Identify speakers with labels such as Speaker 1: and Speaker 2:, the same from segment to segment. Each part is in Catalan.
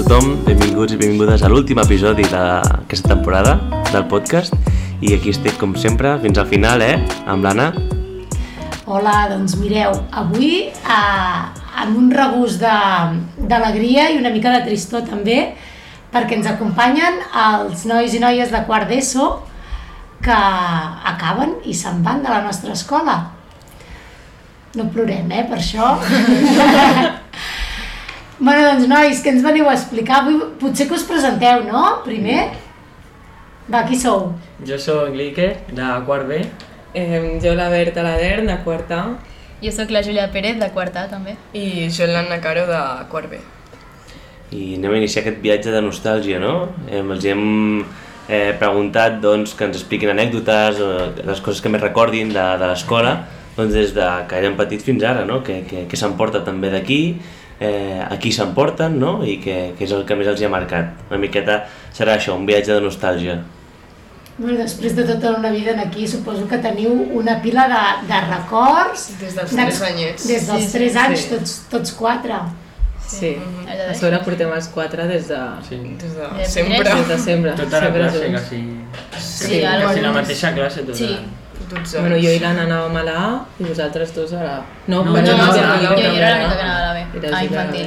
Speaker 1: tothom, benvinguts i benvingudes a l'últim episodi d'aquesta temporada del podcast i aquí estic com sempre fins al final, eh, amb l'Anna.
Speaker 2: Hola, doncs mireu, avui eh, amb un regust de- d'alegria i una mica de tristor també, perquè ens acompanyen els nois i noies de quart d'ESO que acaben i se'n van de la nostra escola. No plorem, eh, per això. bueno, doncs, nois, què ens veniu a explicar? Avui potser que us presenteu, no? Primer. Va, qui sou?
Speaker 3: Yo soy Glique, de quart B.
Speaker 4: Eh, jo la Berta Lader, de quarta,
Speaker 5: Jo sóc la Júlia Pérez, de quarta, també.
Speaker 4: i jo l'Anna Caro, de quart B.
Speaker 1: I anem a iniciar aquest viatge de nostàlgia, no? Eh, els hi hem eh, preguntat doncs, que ens expliquin anècdotes, eh, les coses que més recordin de, de l'escola, doncs des de que eren petits fins ara, no? Que, que, que s'emporta també d'aquí, eh, a qui s'emporten, no? I que, que és el que més els hi ha marcat. Una miqueta serà això, un viatge de nostàlgia.
Speaker 2: Bueno, després de tota una vida en aquí, suposo que teniu una pila de, de records.
Speaker 4: Des dels
Speaker 2: d'ex-
Speaker 4: tres anyets.
Speaker 2: Des dels
Speaker 4: Sí, sí,
Speaker 2: 3
Speaker 4: sí.
Speaker 2: anys, tots, tots quatre.
Speaker 6: Sí,
Speaker 5: Allà
Speaker 6: a
Speaker 5: de-
Speaker 6: sobre portem els quatre des de,
Speaker 3: Sí.
Speaker 4: Des de
Speaker 5: Des de
Speaker 4: sempre,
Speaker 6: des de sempre.
Speaker 3: Tota la
Speaker 6: sempre
Speaker 3: classe,
Speaker 6: junts.
Speaker 3: casi.
Speaker 5: Sí,
Speaker 3: casi,
Speaker 5: algo
Speaker 3: la
Speaker 5: més.
Speaker 3: mateixa classe, tota.
Speaker 5: Sí.
Speaker 4: 12
Speaker 6: Bueno, jo i l'Anna anàvem a la A i vosaltres dos a la A. No,
Speaker 3: No,
Speaker 6: però
Speaker 5: No,
Speaker 3: jo
Speaker 6: no,
Speaker 5: no,
Speaker 4: no,
Speaker 5: jo,
Speaker 4: no,
Speaker 5: jo,
Speaker 4: no,
Speaker 5: jo era l'única
Speaker 4: no.
Speaker 5: que anava a la B,
Speaker 6: Eres
Speaker 5: a
Speaker 6: de la-
Speaker 5: infantil.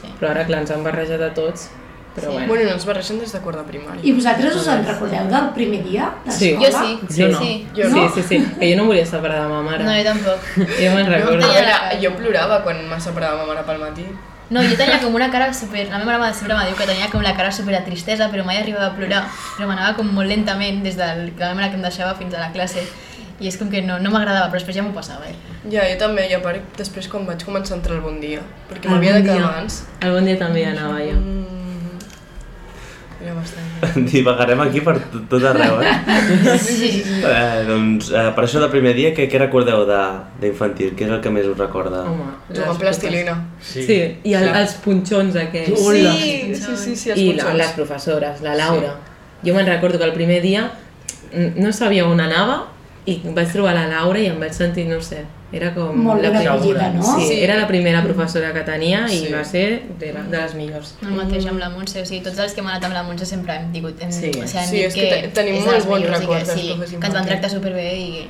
Speaker 5: Sí.
Speaker 6: Però ara, clar, ens han barrejat a tots. Però
Speaker 5: Sí.
Speaker 6: bueno.
Speaker 4: Bueno, no ens barregen des de quart de primària.
Speaker 2: I vosaltres us en recordeu del primer dia
Speaker 6: Sí.
Speaker 2: d'escola?
Speaker 5: Jo sí,
Speaker 6: Jo no.
Speaker 5: sí.
Speaker 4: Jo
Speaker 6: sí,
Speaker 4: no.
Speaker 6: sí, sí. Que jo no em volia separar de ma mare.
Speaker 5: No, jo tampoc.
Speaker 6: Jo me'n
Speaker 4: Jo,
Speaker 6: recordo.
Speaker 4: a
Speaker 5: tenia la
Speaker 4: veure,
Speaker 5: cara.
Speaker 4: jo plorava quan me separava ma mare pel matí.
Speaker 5: No, jo tenia com una cara super... La meva mare sempre me diu que tenia com la cara super de tristesa, però mai arribava a plorar. Però m'anava com molt lentament des de la mare que em deixava fins a la classe. I és com que no, no m'agradava, però després ja m'ho passava, eh?
Speaker 4: Ja, jo també, i a part després quan vaig començar a entrar al bon dia, perquè
Speaker 6: Al
Speaker 4: m'havia de
Speaker 6: Bon
Speaker 4: quedar
Speaker 6: Dia.
Speaker 4: abans.
Speaker 6: Algun dia també hi anava jo.
Speaker 4: Mm, era bastant...
Speaker 1: Divagarem aquí per tot, tot arreu, eh?
Speaker 5: Sí.
Speaker 1: eh doncs, eh, per això del primer dia, què, què recordeu de- d'infantil? Què és el que més us recorda?
Speaker 6: Home,
Speaker 4: Jugar
Speaker 6: les
Speaker 4: amb plastilina.
Speaker 6: profes- Sí, i el, els punxons aquells.
Speaker 4: Sí, sí, sí, sí, els
Speaker 6: I la,
Speaker 4: punxons.
Speaker 6: les professores, la Laura. Jo me'n recordo que el primer dia mm, no sabia on anava i vaig trobar la Laura i em vaig sentir, no sé, era com...
Speaker 2: Molt
Speaker 6: la
Speaker 2: ben
Speaker 6: primera-
Speaker 2: acollida, no?
Speaker 6: Sí,
Speaker 4: Sí.
Speaker 6: era la primera professora que tenia i
Speaker 4: Sí. Ah.
Speaker 6: va ser de, la, de les millors.
Speaker 5: El mateix amb la Montse, o sigui, tots els que hem anat amb la Montse sempre hem digut, hem,
Speaker 6: Sí.
Speaker 5: o sigui, hem
Speaker 4: Sí,
Speaker 5: dit
Speaker 4: és
Speaker 5: que,
Speaker 4: que te- tenim
Speaker 5: és de
Speaker 4: molt
Speaker 5: les
Speaker 4: bons
Speaker 5: millors i que
Speaker 4: records dels
Speaker 5: sí,
Speaker 4: profes
Speaker 5: que ens van
Speaker 4: infantils.
Speaker 5: tractar superbé i que,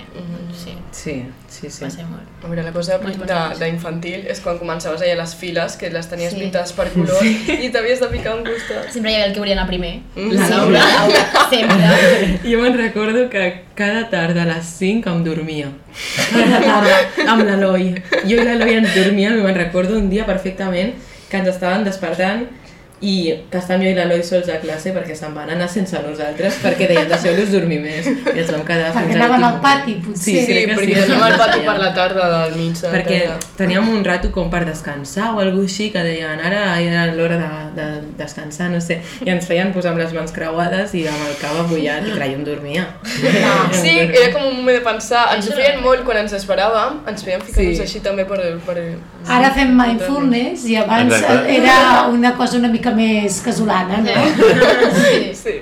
Speaker 5: sí,
Speaker 6: Sí, sí, sí.
Speaker 5: va ser molt.
Speaker 4: A veure, la cosa
Speaker 5: Molt
Speaker 4: de-
Speaker 5: bonic.
Speaker 4: d'infantil és quan començaves allà les files, que les tenies
Speaker 5: Sí.
Speaker 4: pintades per color i t'havies de picar un costat.
Speaker 5: Sempre hi havia el que volia anar primer.
Speaker 6: La
Speaker 5: Sempre,
Speaker 6: Laura.
Speaker 5: sempre.
Speaker 6: Jo me'n recordo que cada tarda a les 5 em dormia. Cada tarda, amb l'Eloi. Jo i l'Eloi ens dormíem i me'n recordo un dia perfectament que ens estaven despertant i que estàvem jo i l'Eloi sols a classe perquè se'n van anar sense nosaltres perquè deien deixeu-los dormir més i ens vam quedar
Speaker 2: Perquè
Speaker 6: fins a
Speaker 2: anaven al
Speaker 6: l'últim moment.
Speaker 2: pati,
Speaker 6: Sí,
Speaker 2: potser.
Speaker 4: Sí,
Speaker 6: crec que sí.
Speaker 4: perquè anem al pati per la tarda del mig de la
Speaker 6: perquè
Speaker 4: tarda.
Speaker 6: teníem un rato com per descansar o alguna així que deien ara era l'hora de, de descansar, no sé i ens feien posar amb les mans creuades i amb el cap abullat i clar, jo em dormia
Speaker 5: Ah,
Speaker 4: Sí, era com un moment de pensar, ens ho feien molt quan ens esperàvem, ens feien ficar-nos
Speaker 6: Sí.
Speaker 4: així també per... per...
Speaker 2: Ara fem mindfulness i abans
Speaker 1: Exacte.
Speaker 2: era una cosa una mica més casolana, no?
Speaker 5: Sí.
Speaker 4: Sí.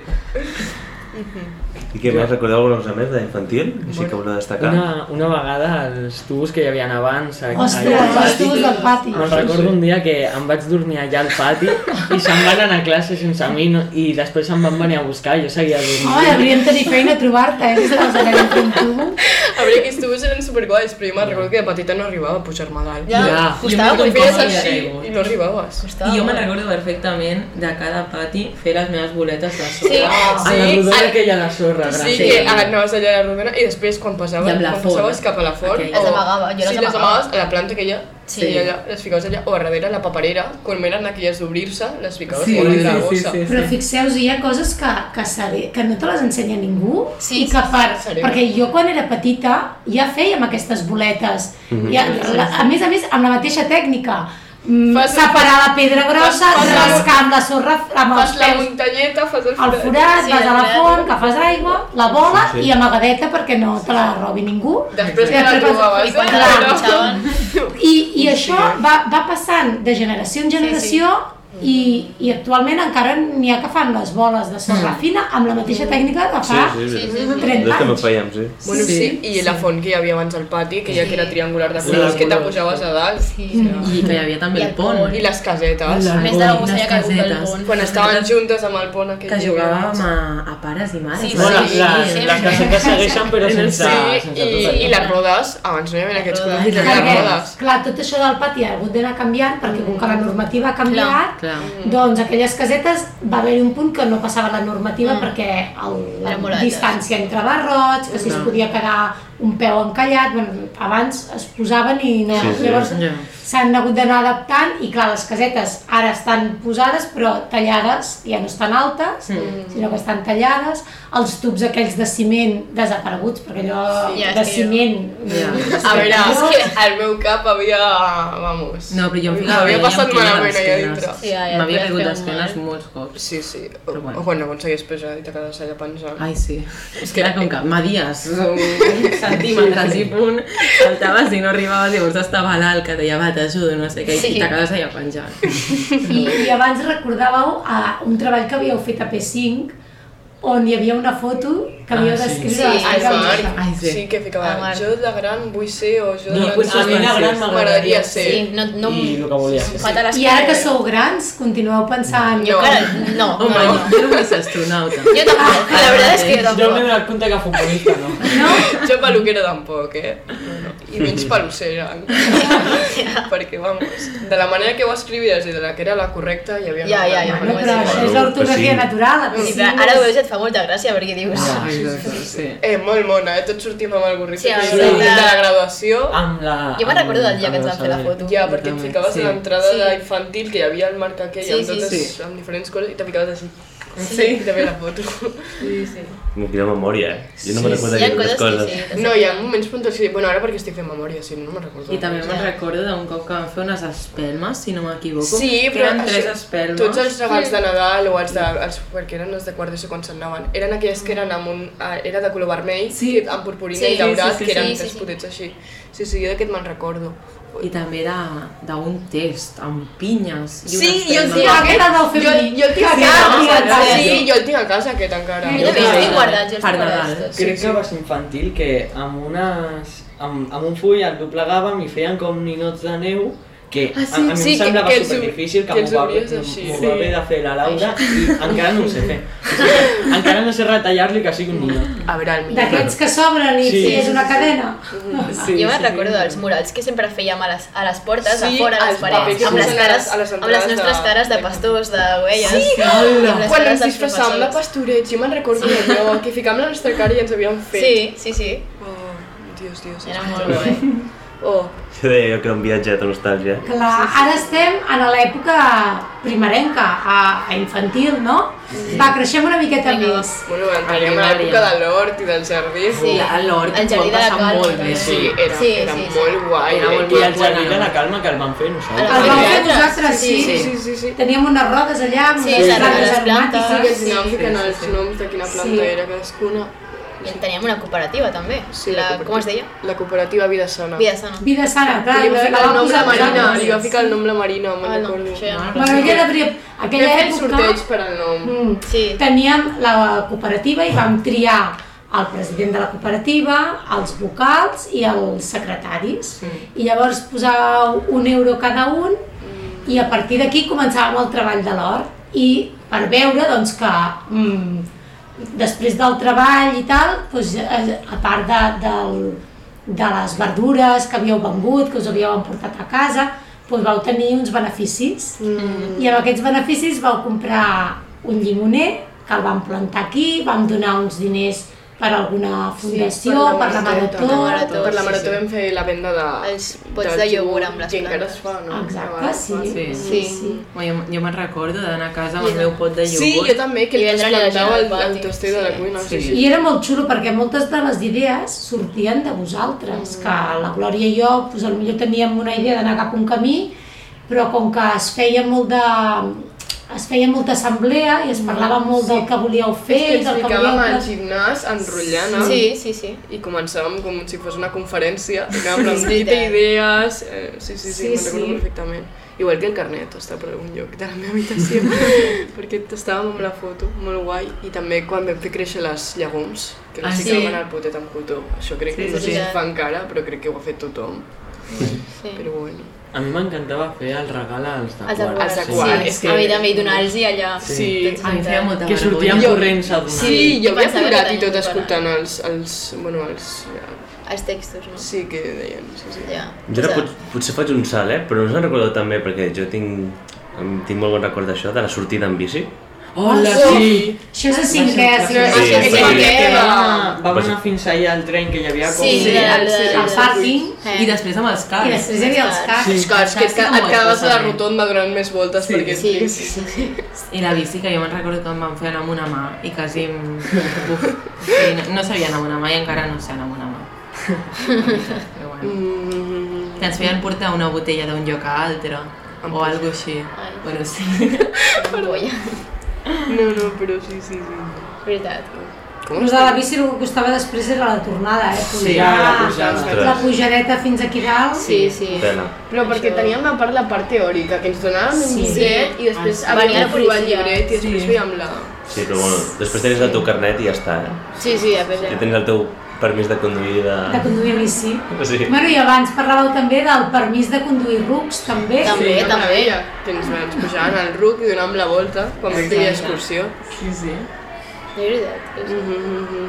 Speaker 1: I què més? Recordeu alguna cosa més d'infantil? Així que voleu destacar?
Speaker 3: Una, una vegada, els tubos que hi havia abans... a- allà al
Speaker 2: Ostres, els
Speaker 3: pati.
Speaker 2: tubos del pati.
Speaker 3: Me'n recordo un dia que em vaig dormir allà al pati i se'n van anar a classe sense mi no, i després em van venir a buscar i jo seguia
Speaker 2: Home,
Speaker 3: dormint.
Speaker 2: hauríem de tenir feina a trobar-te, eh? Si estàs allà dintre un tubo.
Speaker 4: A veure, aquests tubos eren superguais, però jo me'n recordo que de petita no arribava a pujar-me dalt.
Speaker 5: Ja,
Speaker 6: Ja.
Speaker 5: costava
Speaker 4: Tu
Speaker 6: Jo
Speaker 5: molt
Speaker 6: em
Speaker 4: feies
Speaker 6: sí,
Speaker 5: poc.
Speaker 4: així
Speaker 6: ja.
Speaker 4: i no arribaves.
Speaker 5: Costava
Speaker 6: I jo me'n
Speaker 5: molt.
Speaker 6: recordo perfectament de cada pati fer les meves boletes de
Speaker 5: Sí.
Speaker 6: sobre.
Speaker 3: A la rodona
Speaker 4: a-
Speaker 3: aquella de sorra, gran.
Speaker 4: Sí, que ah, anaves allà a la rodona i després quan passaves,
Speaker 6: I amb la
Speaker 4: quan
Speaker 6: font.
Speaker 4: passaves cap a la font...
Speaker 6: Aquella.
Speaker 4: o-
Speaker 5: Les amagava, jo les
Speaker 4: sí, les
Speaker 5: amagava.
Speaker 4: amagaves a la planta aquella,
Speaker 5: Sí.
Speaker 4: sí. i allà les ficaves allà, o a darrere la paperera, quan eren aquelles d'obrir-se, les ficaves
Speaker 6: Sí,
Speaker 4: o darrere la
Speaker 6: sí,
Speaker 4: bossa.
Speaker 6: sí,
Speaker 2: Però fixeu-vos, hi ha coses que, que, sabe, que no te les ensenya ningú
Speaker 5: Sí,
Speaker 2: i que per,
Speaker 4: sí, sí.
Speaker 2: perquè jo quan era petita ja fèiem aquestes boletes
Speaker 1: Mhm.
Speaker 2: ja, la, a més a més amb la mateixa tècnica Mm,
Speaker 4: Fas-
Speaker 2: separar la pedra grossa,
Speaker 4: fas- fas la-
Speaker 2: rascar amb la sorra amb els
Speaker 4: Fas la
Speaker 2: peus
Speaker 4: muntanyeta, fas el
Speaker 2: el forat,
Speaker 5: Sí,
Speaker 2: vas a la
Speaker 5: el
Speaker 2: font, que fas aigua, la bola
Speaker 1: Sí, sí.
Speaker 2: i amagadeta perquè no te la robi ningú.
Speaker 4: Després
Speaker 2: I
Speaker 4: que la
Speaker 2: després vas-
Speaker 4: trobaves.
Speaker 5: I quan te
Speaker 4: eh,
Speaker 5: la
Speaker 4: no?
Speaker 5: punxaven.
Speaker 2: I, i això va, va passant de generació en generació I, i actualment encara n'hi ha que fan les boles de sorra fina amb la mateixa
Speaker 5: Mm.
Speaker 2: tècnica que fa
Speaker 1: Mm. Sí, sí, sí.
Speaker 5: sí.
Speaker 2: 30
Speaker 1: Nosaltres també ho
Speaker 2: anys.
Speaker 1: fèiem, sí.
Speaker 4: Bueno, sí,
Speaker 6: Sí,
Speaker 4: i la font que hi havia abans al pati, que ja que era triangular de
Speaker 3: Sí.
Speaker 4: colors, que te
Speaker 3: Sí.
Speaker 4: pujaves a dalt.
Speaker 5: Sí.
Speaker 4: O
Speaker 6: I que hi havia també
Speaker 5: I
Speaker 6: el
Speaker 5: el
Speaker 6: pont.
Speaker 5: pont.
Speaker 4: sigui, I les casetes.
Speaker 5: A més de l'algú s'havia caigut del pont.
Speaker 4: Quan estaven juntes amb el pont aquell.
Speaker 6: Que
Speaker 4: dia.
Speaker 6: jugàvem a, a pares i mares.
Speaker 5: Sí,
Speaker 6: no?
Speaker 3: Bueno,
Speaker 5: sí,
Speaker 3: la,
Speaker 5: sí,
Speaker 3: les
Speaker 5: sí.
Speaker 3: casetes segueixen però sense...
Speaker 4: Sí,
Speaker 3: sense
Speaker 4: i,
Speaker 3: tot
Speaker 4: i
Speaker 3: això.
Speaker 4: les rodes, abans no hi havia aquests
Speaker 5: rodes.
Speaker 4: col·lectius de
Speaker 2: Perquè,
Speaker 4: rodes.
Speaker 2: clar, tot això del pati ha hagut d'anar canviant perquè com que la normativa ha canviat,
Speaker 6: Clar.
Speaker 2: doncs aquelles casetes va haver un punt que no passava la normativa
Speaker 5: Mm.
Speaker 2: perquè el, la
Speaker 5: Era molt alta.
Speaker 2: distància entre barrots, que si es
Speaker 6: Clar.
Speaker 2: podia quedar un peu encallat, bueno, abans es posaven i no,
Speaker 1: Sí, sí.
Speaker 2: llavors
Speaker 6: Ja.
Speaker 2: s'han hagut d'anar adaptant i clar, les casetes ara estan posades però tallades, ja no estan altes,
Speaker 5: Mm.
Speaker 2: sinó que estan tallades, els tubs aquells de ciment desapareguts, perquè allò
Speaker 5: Sí, ja
Speaker 2: de
Speaker 5: és que-
Speaker 2: ciment...
Speaker 6: Ja.
Speaker 4: A veure, és que al meu cap havia... Vamos.
Speaker 6: No, però
Speaker 5: Ah,
Speaker 6: jo em
Speaker 4: M'havia
Speaker 6: ficava... jo em
Speaker 4: passat
Speaker 6: ficava
Speaker 4: malament
Speaker 6: les
Speaker 4: allà
Speaker 6: canes.
Speaker 4: dintre.
Speaker 5: Sí, ja, ja,
Speaker 6: M'havia
Speaker 5: et
Speaker 6: caigut
Speaker 5: feu
Speaker 6: d'esquenes
Speaker 5: mal.
Speaker 6: molts cops.
Speaker 4: Sí, sí. O,
Speaker 6: Però bueno.
Speaker 4: o quan aconseguies pujar i te quedes allà pensant.
Speaker 6: Ai, sí. És
Speaker 4: que-
Speaker 6: que era com que medies un centímetres i punt, saltaves i no arribaves, llavors estava l'alt que deia va, t'ajudo, no sé què,
Speaker 5: Sí.
Speaker 6: i t'acabes allà penjant.
Speaker 2: I, I abans recordàveu a un treball que havíeu fet a P5 on hi havia una foto que havíeu
Speaker 6: Ah, sí.
Speaker 2: d'escriure.
Speaker 5: Sí,
Speaker 2: les
Speaker 4: Ai,
Speaker 5: Ai,
Speaker 2: coses.
Speaker 4: Marc,
Speaker 6: Ai,
Speaker 4: sí.
Speaker 6: sí.
Speaker 4: que
Speaker 5: Ah,
Speaker 4: ficava,
Speaker 5: Marc.
Speaker 4: jo de gran vull ser o jo de
Speaker 3: No,
Speaker 4: gran...
Speaker 3: potser
Speaker 4: a mi
Speaker 3: la gran
Speaker 4: m'agradaria
Speaker 3: m'agradaria
Speaker 4: ser.
Speaker 5: Sí, no, no,
Speaker 3: I el que volia. Sí,
Speaker 5: fatal
Speaker 2: I ara que sou grans, continueu pensant...
Speaker 4: Jo-
Speaker 5: Cara, no,
Speaker 6: Oh,
Speaker 5: no,
Speaker 6: my,
Speaker 5: no.
Speaker 6: jo no vull ser astronauta.
Speaker 5: Jo tampoc, la verdad es que yo
Speaker 3: Jo m'he
Speaker 5: tampoc.
Speaker 3: donat compte que futbolista no.
Speaker 4: Jo peluquera tampoc, eh? No, no. I menys pelucera. Perquè, vamos, de la manera que ho escrivies i de la que era la correcta hi havia...
Speaker 5: Ja,
Speaker 4: una
Speaker 5: ja,
Speaker 4: gran
Speaker 5: ja.
Speaker 2: Bueno, però
Speaker 4: manera.
Speaker 2: això és
Speaker 1: Bueno,
Speaker 2: l'ortografia
Speaker 1: P5.
Speaker 2: natural, a
Speaker 5: Sí,
Speaker 2: P5.
Speaker 5: però ara ho veus i et fa molta gràcia perquè dius...
Speaker 6: Ai, doncs, sí.
Speaker 4: Eh, molt mona, eh? Tots sortim amb el gorrito
Speaker 5: Sí,
Speaker 4: que
Speaker 5: sí.
Speaker 4: hi havia de la graduació.
Speaker 3: Amb la...
Speaker 5: Jo me'n
Speaker 3: amb-
Speaker 5: recordo del dia que ens van
Speaker 3: amb
Speaker 5: fer la
Speaker 3: saber.
Speaker 5: foto.
Speaker 4: Ja, perquè et
Speaker 6: També,
Speaker 4: ficaves
Speaker 6: sí.
Speaker 4: a l'entrada
Speaker 5: Sí.
Speaker 4: d'infantil, que hi havia el marc aquell,
Speaker 5: Sí,
Speaker 4: amb,
Speaker 5: sí,
Speaker 4: totes,
Speaker 6: sí.
Speaker 4: amb diferents coses, i te ficaves així. Sí. I te veia la foto.
Speaker 1: Quina memòria, eh? Jo no me'n recordo
Speaker 5: Hi ha
Speaker 1: d'aquestes
Speaker 5: coses que
Speaker 1: coses.
Speaker 5: sí. t'has-
Speaker 4: No, hi ha moments puntuals que... Bueno, ara perquè estic fent memòria, si no, no me'n recordo.
Speaker 6: I també me'n recordo d'un cop que vam fer unes espelmes, si no m'equivoco.
Speaker 4: Sí,
Speaker 6: que
Speaker 4: però
Speaker 6: eren tres
Speaker 4: això-
Speaker 6: espelmes.
Speaker 4: Tots els regals de Nadal o els de... Els, perquè eren els de quart d'ESO quan se'n anaven. Eren aquelles que eren amb un... ah, Era de color vermell,
Speaker 6: Sí.
Speaker 4: que- amb purpurina
Speaker 5: Sí,
Speaker 4: i daurat,
Speaker 5: sí, sí,
Speaker 4: que eren
Speaker 5: sí, sí,
Speaker 4: tres
Speaker 5: sí.
Speaker 4: potets així. Sí, sí, jo d'aquest me'n recordo.
Speaker 6: I també era d'un test, amb pinyes. I
Speaker 4: Sí,
Speaker 6: unes
Speaker 4: jo el
Speaker 6: espelmes.
Speaker 4: tinc
Speaker 2: Ah,
Speaker 4: aquest,
Speaker 2: aquest el vau fer
Speaker 4: jo,
Speaker 2: amb mi.
Speaker 4: jo el tinc a
Speaker 2: Sí,
Speaker 4: casa,
Speaker 2: no?
Speaker 4: sí,
Speaker 5: Sí.
Speaker 4: sí, jo el tinc a casa aquest encara.
Speaker 5: Jo també els tinc guardats, jo els
Speaker 6: Per
Speaker 5: tinc guardats
Speaker 6: Nadal.
Speaker 5: tots.
Speaker 3: Crec que va ser infantil que amb unes... amb, amb un full el doblegàvem i feien com ninots de neu que
Speaker 6: Ah, sí?
Speaker 3: a, a mi
Speaker 4: Sí,
Speaker 3: em semblava
Speaker 4: que- que els-
Speaker 3: superdifícil que,
Speaker 4: que
Speaker 3: que
Speaker 4: els
Speaker 3: m'ho va,
Speaker 4: obries
Speaker 3: m'ho-
Speaker 4: així.
Speaker 3: m'ho va
Speaker 6: Sí.
Speaker 3: haver de fer la Laura i encara no ho sé fer. O sigui, encara no sé retallar li que sigui un ninot.
Speaker 4: A veure, el meu.
Speaker 2: D'aquests que s'obren i
Speaker 3: Sí.
Speaker 2: és una cadena.
Speaker 6: Sí,
Speaker 5: jo me'n
Speaker 6: sí.
Speaker 5: recordo dels murals que sempre fèiem a les, a les portes,
Speaker 4: Sí,
Speaker 5: a fora, a les
Speaker 4: els papers
Speaker 5: parets,
Speaker 4: que
Speaker 5: amb les,
Speaker 4: posen a les-
Speaker 5: cares,
Speaker 4: a les
Speaker 5: amb les
Speaker 4: entrades
Speaker 5: nostres
Speaker 4: de-
Speaker 5: cares de pastors, de ovelles. Sí,
Speaker 4: Quan ens disfressàvem de pastorets, jo me'n recordo sí. d'allò, que ficàvem la nostra cara i ens havíem fet.
Speaker 5: Sí, sí, sí.
Speaker 4: Oh, dios, dios.
Speaker 5: Era molt guai.
Speaker 4: Oh,
Speaker 1: Jo deia jo que era un viatge de nostàlgia.
Speaker 2: Clar, ara estem en l'època primerenca, a, a infantil, no? Va, creixem una miqueta
Speaker 5: Vinga, va.
Speaker 2: més.
Speaker 4: bueno, entraríem a
Speaker 6: Ai,
Speaker 4: l'època
Speaker 6: Maria.
Speaker 4: de l'hort i del jardí.
Speaker 5: Sí.
Speaker 6: A l'hort
Speaker 5: El
Speaker 6: ho vam
Speaker 5: jardí de la
Speaker 6: passar
Speaker 5: Calma,
Speaker 6: molt
Speaker 5: també.
Speaker 6: bé.
Speaker 4: Sí, era,
Speaker 5: Sí,
Speaker 4: era
Speaker 5: sí, sí.
Speaker 4: molt guai.
Speaker 6: Era molt
Speaker 4: eh?
Speaker 3: I el jardí de la calma que el van fer
Speaker 5: El
Speaker 3: nosaltres.
Speaker 2: El vam fer
Speaker 4: Sí.
Speaker 2: nosaltres, sí.
Speaker 5: Sí,
Speaker 4: Sí, sí, sí. sí.
Speaker 2: Teníem unes rodes allà, amb
Speaker 5: Sí,
Speaker 2: unes
Speaker 5: les
Speaker 2: plantes
Speaker 5: rodes, plantes.
Speaker 4: Sí, que
Speaker 2: aromàtiques.
Speaker 4: ens anàvem
Speaker 6: sí,
Speaker 4: ficant
Speaker 6: sí,
Speaker 4: els
Speaker 6: sí.
Speaker 4: noms de quina planta
Speaker 2: Sí.
Speaker 4: era cadascuna.
Speaker 5: I teníem una cooperativa també.
Speaker 4: Sí,
Speaker 5: la,
Speaker 4: cooperativa-
Speaker 5: com es deia?
Speaker 4: La cooperativa Vida Sana.
Speaker 5: Vida Sana.
Speaker 2: Vida sana, Ah, clar,
Speaker 4: Que Li va
Speaker 2: la
Speaker 4: ficar el
Speaker 2: vam
Speaker 4: nom la
Speaker 2: posar
Speaker 4: Marina,
Speaker 2: nosaltres.
Speaker 4: li va ficar el nom la Marina,
Speaker 5: Ah,
Speaker 4: me'n
Speaker 5: no,
Speaker 4: recordo.
Speaker 5: això ja no.
Speaker 2: Bueno, aquella, pri-
Speaker 4: Vam
Speaker 2: aquella
Speaker 4: fer el
Speaker 2: època
Speaker 4: sorteig per al nom.
Speaker 2: mm,
Speaker 5: Sí.
Speaker 2: teníem la cooperativa i vam triar el president de la cooperativa, els vocals i els secretaris. I llavors posàveu un euro cada un i a partir d'aquí començàvem el treball de l'hort i per veure doncs, que mm, després del treball i tal, doncs, eh, a part de, del, de les verdures que havíeu vengut, que us havíeu emportat a casa, doncs vau tenir uns beneficis mm. i amb aquests beneficis vau comprar un llimoner que el vam plantar aquí, vam donar uns diners per alguna fundació, per la marató,
Speaker 4: Per la marató, per la
Speaker 5: sí,
Speaker 4: marató
Speaker 5: sí.
Speaker 4: vam fer la venda de...
Speaker 5: Els pots de iogurt amb les
Speaker 4: plantes. encara es
Speaker 5: plantes.
Speaker 4: fa, no?
Speaker 2: Exacte,
Speaker 4: Encara es
Speaker 2: sí.
Speaker 4: fa.
Speaker 6: Sí.
Speaker 2: sí. sí.
Speaker 6: Bueno, jo, jo me'n recordo d'anar a casa amb el meu pot de
Speaker 4: Sí,
Speaker 6: iogurt.
Speaker 4: jo també, que
Speaker 5: I
Speaker 4: li
Speaker 5: vendre la gent
Speaker 4: trasplantava
Speaker 5: al
Speaker 4: el, el
Speaker 5: pati.
Speaker 4: toster de la
Speaker 5: Sí.
Speaker 4: cuina. Sí,
Speaker 6: Sí.
Speaker 4: sí.
Speaker 2: I era molt xulo perquè moltes de les idees sortien de vosaltres, que la Glòria i jo doncs, potser teníem una idea d'anar cap a un camí, però com que es feia molt de es feia molta assemblea i es parlava molt del que volíeu fer
Speaker 4: Que
Speaker 2: i
Speaker 4: ens
Speaker 2: del que
Speaker 4: ficàvem
Speaker 2: volíeu
Speaker 4: al gimnàs enrotllant, no?
Speaker 5: Sí, sí, sí.
Speaker 4: I començàvem com si fos una conferència, anàvem amb
Speaker 5: Sí,
Speaker 4: dita
Speaker 5: sí.
Speaker 4: idees... Eh, sí,
Speaker 2: Sí,
Speaker 4: sí, sí, sí me'n recordo
Speaker 2: sí.
Speaker 4: perfectament. Igual que el carnet està per algun lloc de la meva habitació, perquè estàvem amb la foto, molt guai, i també quan vam fer créixer les llegums, que
Speaker 5: Ah,
Speaker 4: les
Speaker 5: sí?
Speaker 4: ficaven al potet amb cotó. Això crec que
Speaker 5: Sí,
Speaker 4: no
Speaker 5: sí,
Speaker 4: sé si
Speaker 5: sí.
Speaker 4: es fa encara, però crec que ho ha fet tothom.
Speaker 5: Sí.
Speaker 4: Però bueno.
Speaker 3: A mi m'encantava fer el regal als de
Speaker 5: Els
Speaker 3: quart.
Speaker 5: aquars,
Speaker 4: Els aquars,
Speaker 5: sí.
Speaker 4: és que-
Speaker 5: A mi també, i donar-los allà.
Speaker 4: Sí.
Speaker 6: A mi em feia molta
Speaker 3: Que sortien
Speaker 6: vergonya.
Speaker 3: corrents a donar.
Speaker 4: Sí,
Speaker 5: Sí,
Speaker 4: jo
Speaker 5: jo
Speaker 4: havia
Speaker 5: pensava que
Speaker 4: plorat i
Speaker 5: tenia
Speaker 4: tot
Speaker 5: un
Speaker 4: escoltant els, els, bueno, els,
Speaker 5: Els textos, no?
Speaker 4: sí que deien, sí, sí.
Speaker 5: Ja.
Speaker 1: Jo ara
Speaker 5: O
Speaker 1: pot,
Speaker 5: sigui,
Speaker 1: potser faig un salt, eh? però no us en recordeu també, perquè jo tinc, em tinc molt bon record d'això, de la sortida en bici.
Speaker 3: Hola, sí!
Speaker 2: Això és a cinquè, sí.
Speaker 5: Ah,
Speaker 1: Sí,
Speaker 5: això és
Speaker 1: sí.
Speaker 5: el que
Speaker 4: Sí.
Speaker 5: era.
Speaker 3: Ah, vam
Speaker 1: Vas-
Speaker 3: anar fins allà al tren, que hi havia com...
Speaker 5: Sí,
Speaker 4: Sí,
Speaker 5: de-
Speaker 4: el-
Speaker 5: de-
Speaker 2: El pàrquing,
Speaker 5: Eh.
Speaker 6: I després amb els
Speaker 2: i
Speaker 6: cars.
Speaker 2: després hi havia els cars.
Speaker 3: Sí.
Speaker 4: Ah, És clar, és que et, ca- et quedaves a la rotonda donant més voltes
Speaker 6: Sí.
Speaker 4: perquè...
Speaker 5: Sí, sí, sí. sí.
Speaker 6: I la bici, que jo me'n recordo que em van fer anar amb una mà i quasi... Em... Uf, sí, no, no sabia anar amb una mà i encara no sé anar amb una mà. Però bueno.
Speaker 4: Mm,
Speaker 6: Que ens feien portar una botella d'un lloc a altre o alguna així.
Speaker 5: Ai.
Speaker 6: Bueno, sí.
Speaker 5: Vergonya.
Speaker 4: no, no, però sí, sí, sí.
Speaker 5: Veritat.
Speaker 2: Però de la bici el que costava després era la tornada, eh?
Speaker 3: Sí, la pujada.
Speaker 2: la pujadeta fins aquí dalt.
Speaker 5: Sí, sí.
Speaker 1: Pena.
Speaker 4: Però perquè
Speaker 5: Això.
Speaker 4: teníem a part la part teòrica, que ens donàvem un
Speaker 5: Sí.
Speaker 4: llibret i després
Speaker 5: Ah, sí.
Speaker 4: havíem
Speaker 5: Venia
Speaker 4: de
Speaker 5: la
Speaker 4: provar el
Speaker 5: policia.
Speaker 4: llibret i després
Speaker 6: Sí.
Speaker 4: fèiem la...
Speaker 1: Sí, però bueno, després tenies el teu carnet i ja està, eh?
Speaker 5: Sí, sí, a
Speaker 1: Ja
Speaker 5: veure.
Speaker 1: tenies el teu permís de conduir de...
Speaker 2: de conduir bici.
Speaker 1: Sí.
Speaker 2: Bueno, i abans parlàveu també del permís de conduir rucs, també.
Speaker 5: També.
Speaker 4: no
Speaker 5: també.
Speaker 4: cabia, Que ens, ens pujaven al ruc i donàvem la volta quan vam fer excursió.
Speaker 6: Sí, sí.
Speaker 5: De veritat. És
Speaker 4: Mm.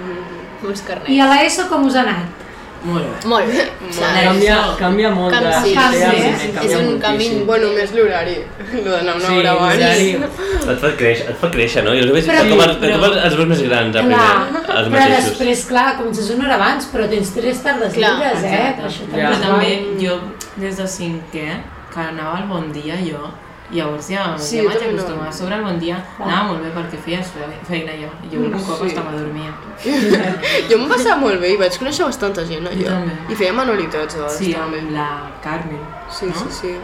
Speaker 5: Molts
Speaker 2: I
Speaker 5: carnets.
Speaker 2: a l'ESO com us ha anat?
Speaker 6: Molt bé.
Speaker 5: Molt bé. Saps?
Speaker 3: Canvia, canvia molt
Speaker 5: Canvi,
Speaker 3: de...
Speaker 5: sí,
Speaker 3: idea,
Speaker 2: sí,
Speaker 3: primer,
Speaker 2: sí.
Speaker 3: canvia
Speaker 5: És un canvi
Speaker 3: moltíssim.
Speaker 4: Bueno, més l'horari, lo d'anar una
Speaker 3: Sí,
Speaker 4: hora eh? abans.
Speaker 3: horari.
Speaker 1: Et fa créixer, et fa créixer, no? Jo els veig
Speaker 2: Però-
Speaker 1: com els,
Speaker 6: però-
Speaker 1: com els, els veus més grans, a primer, els
Speaker 2: però
Speaker 1: mateixos.
Speaker 2: després, clar, comences una hora abans, però tens tres tardes
Speaker 5: Clar,
Speaker 2: lliures, eh?
Speaker 6: Exacte.
Speaker 2: Que Això
Speaker 3: Ja.
Speaker 6: Però
Speaker 2: també és
Speaker 6: també
Speaker 2: guai.
Speaker 6: jo, des de cinquè, que anava al bon dia jo, llavors ja,
Speaker 4: Sí,
Speaker 6: ja
Speaker 4: jo
Speaker 6: vaig
Speaker 4: també no.
Speaker 6: acostumar. A sobre el bon dia anava molt bé perquè feia fe- feina jo. Jo un cop
Speaker 4: Sí.
Speaker 6: estava dormia.
Speaker 4: Jo em passava molt bé i vaig conèixer bastanta gent
Speaker 6: Jo
Speaker 4: allà.
Speaker 6: també.
Speaker 4: I feia manualitats a vegades
Speaker 6: Sí,
Speaker 4: també.
Speaker 6: amb la Carmen.
Speaker 4: Sí,
Speaker 6: no?
Speaker 4: sí, sí.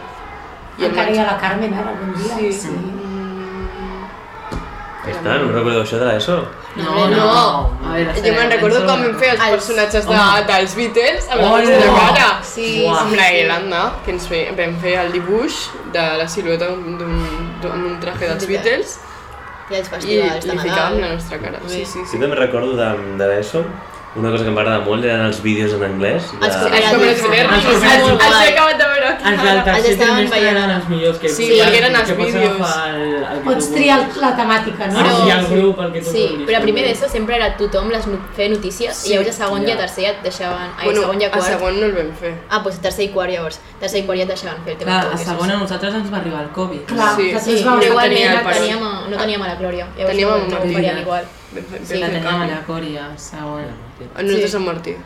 Speaker 4: I el
Speaker 2: Encara hi
Speaker 4: maig...
Speaker 2: ha la Carmen, ara, bon dia.
Speaker 4: Sí. Mm,
Speaker 1: Ja està, no recordeu això de l'ESO?
Speaker 5: No, no.
Speaker 6: A veure,
Speaker 4: Jo me'n recordo quan vam fer els
Speaker 5: Els-
Speaker 4: personatges de,
Speaker 6: Home.
Speaker 4: dels Beatles amb la
Speaker 6: Hola.
Speaker 4: oh, de cara.
Speaker 5: Sí,
Speaker 6: Buah.
Speaker 4: Amb
Speaker 5: sí,
Speaker 4: la
Speaker 5: sí.
Speaker 4: Irlanda, que ens fe, vam fer el dibuix de la silueta d'un- d'un- d'un d'un traje dels Beatles
Speaker 5: I els
Speaker 4: i
Speaker 5: festivals de
Speaker 4: li ficàvem la
Speaker 5: Nadal.
Speaker 4: nostra cara. Sí, sí,
Speaker 1: Jo
Speaker 4: sí.
Speaker 1: també recordo de, de l'ESO, una cosa que em va agradar molt eren els vídeos en anglès. De...
Speaker 5: Els
Speaker 4: Els
Speaker 5: Els
Speaker 4: còmeres moderns,
Speaker 3: Els
Speaker 4: els
Speaker 3: còmeres
Speaker 4: els
Speaker 5: moderns.
Speaker 4: he acabat de veure aquí.
Speaker 3: Els del tercer
Speaker 5: estaven
Speaker 3: trimestre
Speaker 5: ballant.
Speaker 3: eren els millors que
Speaker 4: Sí,
Speaker 5: perquè
Speaker 4: eren els
Speaker 3: que pots
Speaker 4: vídeos.
Speaker 3: agafar El, el que
Speaker 2: Pots
Speaker 3: tu
Speaker 2: triar
Speaker 3: vulguis.
Speaker 2: la temàtica, no?
Speaker 5: Però-
Speaker 3: Ah, sí, el grup, el que tu
Speaker 5: Sí,
Speaker 3: vulguis,
Speaker 5: però a primer
Speaker 3: també.
Speaker 5: d'ESO sempre era tothom les no fer notícies
Speaker 4: Sí,
Speaker 5: i llavors a segon i
Speaker 3: ja.
Speaker 5: a tercer ja et deixaven... Ai,
Speaker 4: Bueno,
Speaker 5: a segon i a
Speaker 4: a
Speaker 5: quart.
Speaker 4: segon no el vam fer.
Speaker 5: Ah, doncs a tercer i quart llavors. A tercer i quart ja et deixaven fer el teu
Speaker 6: Clar, a
Speaker 5: autobús.
Speaker 6: segona a nosaltres ens va arribar el Covid.
Speaker 2: Clar,
Speaker 4: Sí,
Speaker 2: nosaltres
Speaker 5: Sí,
Speaker 2: vam-
Speaker 5: però
Speaker 4: no
Speaker 5: igualment
Speaker 4: tenia
Speaker 5: no
Speaker 4: el pare.
Speaker 5: teníem, a, no teníem a la Glòria. Llavors
Speaker 4: Teníem a
Speaker 5: no, no
Speaker 4: Martí.
Speaker 5: ho faríem igual.
Speaker 4: Vam fer,
Speaker 5: Sí,
Speaker 6: La
Speaker 4: vam fer
Speaker 6: teníem a
Speaker 4: canvi.
Speaker 6: la Còria, a segona.
Speaker 4: A nosaltres
Speaker 5: Sí.
Speaker 4: a Martí.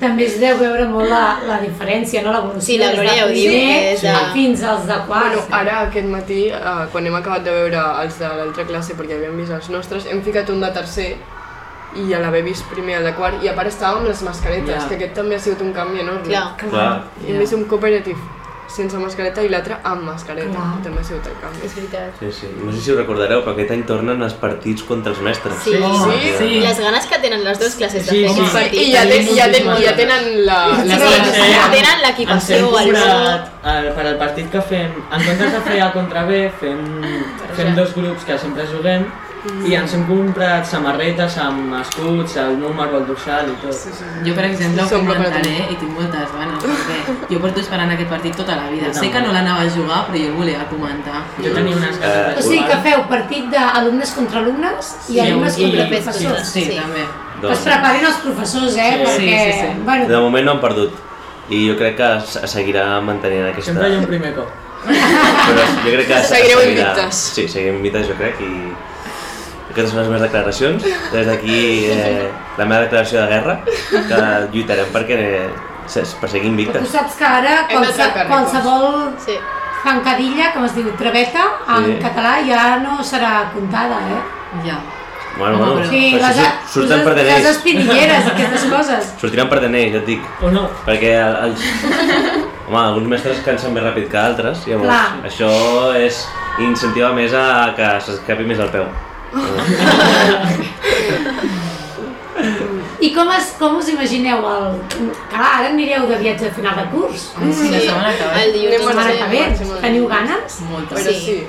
Speaker 2: També es deu veure molt la, la diferència, no? L'evolució
Speaker 5: Sí, la
Speaker 2: des de
Speaker 5: Glòria ja ho diu,
Speaker 2: primer
Speaker 5: des de-
Speaker 2: fins als de quart.
Speaker 4: Bueno, ara aquest matí, eh, quan hem acabat de veure els de l'altra classe perquè havíem vist els nostres, hem ficat un de tercer i ja l'haver vist primer el de quart i a part estava amb les mascaretes,
Speaker 3: Ja.
Speaker 4: que aquest també ha sigut un canvi enorme.
Speaker 5: Clar.
Speaker 1: Clar,
Speaker 4: Hem vist un cooperatiu sense mascareta i l'altre amb mascareta,
Speaker 2: Clar.
Speaker 4: també ha sigut el canvi.
Speaker 5: És veritat.
Speaker 1: sí, sí. No sé si ho recordareu, però aquest any tornen els partits contra els mestres.
Speaker 5: Sí.
Speaker 3: Oh,
Speaker 4: Sí?
Speaker 5: I les ganes que tenen les dues classes de
Speaker 3: Sí,
Speaker 5: fer
Speaker 3: sí,
Speaker 5: aquest
Speaker 3: sí.
Speaker 5: partit.
Speaker 4: I ja,
Speaker 3: tenim
Speaker 4: ten, ja, ten,
Speaker 3: moltíssimes
Speaker 4: ja tenen la... la
Speaker 5: Sí,
Speaker 4: la-
Speaker 5: sí. tenen l'equipació,
Speaker 3: ens hem
Speaker 5: el
Speaker 3: comprat el, per al partit que fem, en comptes de fer A contra B, fem, fem dos grups que sempre juguem i ens hem comprat samarretes amb escuts, el número, el dorsal i tot.
Speaker 6: Jo, per exemple, ho
Speaker 4: Som
Speaker 6: comentaré i tinc moltes ganes, perquè jo porto esperant aquest partit tota la vida.
Speaker 3: Jo
Speaker 6: Sé que
Speaker 3: també.
Speaker 6: no l'anava a jugar, però jo el volia comentar.
Speaker 3: Jo tenia unes
Speaker 1: Eh,
Speaker 2: Ah. O
Speaker 3: ganes
Speaker 2: sigui que feu partit d'alumnes contra alumnes i
Speaker 6: Sí,
Speaker 2: alumnes
Speaker 3: i-
Speaker 2: contra
Speaker 3: i-
Speaker 2: professors.
Speaker 6: Sí,
Speaker 5: Sí.
Speaker 6: també.
Speaker 2: Que es
Speaker 1: Doncs,
Speaker 2: preparin els professors, eh?
Speaker 3: Sí,
Speaker 2: perquè,
Speaker 6: sí, sí.
Speaker 1: de
Speaker 2: Bueno,
Speaker 1: moment no han perdut. I jo crec que es es seguirà mantenint aquesta...
Speaker 3: Sempre hi ha un primer cop.
Speaker 1: Però jo crec que... es-
Speaker 4: Seguireu
Speaker 1: es seguirà-
Speaker 4: invictes.
Speaker 1: Sí, seguirem invictes, jo crec, i... Aquestes són les meves declaracions. Des d'aquí, eh, la meva declaració de guerra, que lluitarem perquè eh, se- per seguir
Speaker 2: tu
Speaker 1: invictes.
Speaker 2: saps que ara
Speaker 4: Hem de
Speaker 2: qualse-
Speaker 4: trencar rècords.
Speaker 2: qualsevol
Speaker 5: Sí.
Speaker 2: Zancadilla, com es diu, traveta, en
Speaker 1: Sí.
Speaker 2: català ja no serà comptada, eh?
Speaker 6: Ja.
Speaker 1: Bueno,
Speaker 6: Home,
Speaker 1: bueno,
Speaker 6: però-
Speaker 2: Sí,
Speaker 1: però
Speaker 2: les,
Speaker 1: si
Speaker 2: a-
Speaker 1: sur- surten per
Speaker 2: les, les
Speaker 1: denells.
Speaker 2: espinilleres, aquestes coses.
Speaker 1: Sortiran per denells, ja et dic.
Speaker 3: O no?
Speaker 1: Perquè el- els... Home, alguns mestres es cansen més ràpid que altres, llavors
Speaker 2: Clar.
Speaker 1: això és incentiva més a que s'escapi més el peu.
Speaker 2: I com, es, com us imagineu el... Clar, ara anireu de viatge a final de curs.
Speaker 6: Sí, la setmana que ve.
Speaker 5: El dilluns ens
Speaker 4: Anem a
Speaker 2: Setmana
Speaker 4: sí,
Speaker 2: que
Speaker 5: veiem.
Speaker 2: ve.
Speaker 4: sí, sí.
Speaker 2: eh? Teniu ganes?
Speaker 6: Moltes.
Speaker 4: Però
Speaker 5: Sí.
Speaker 4: sí.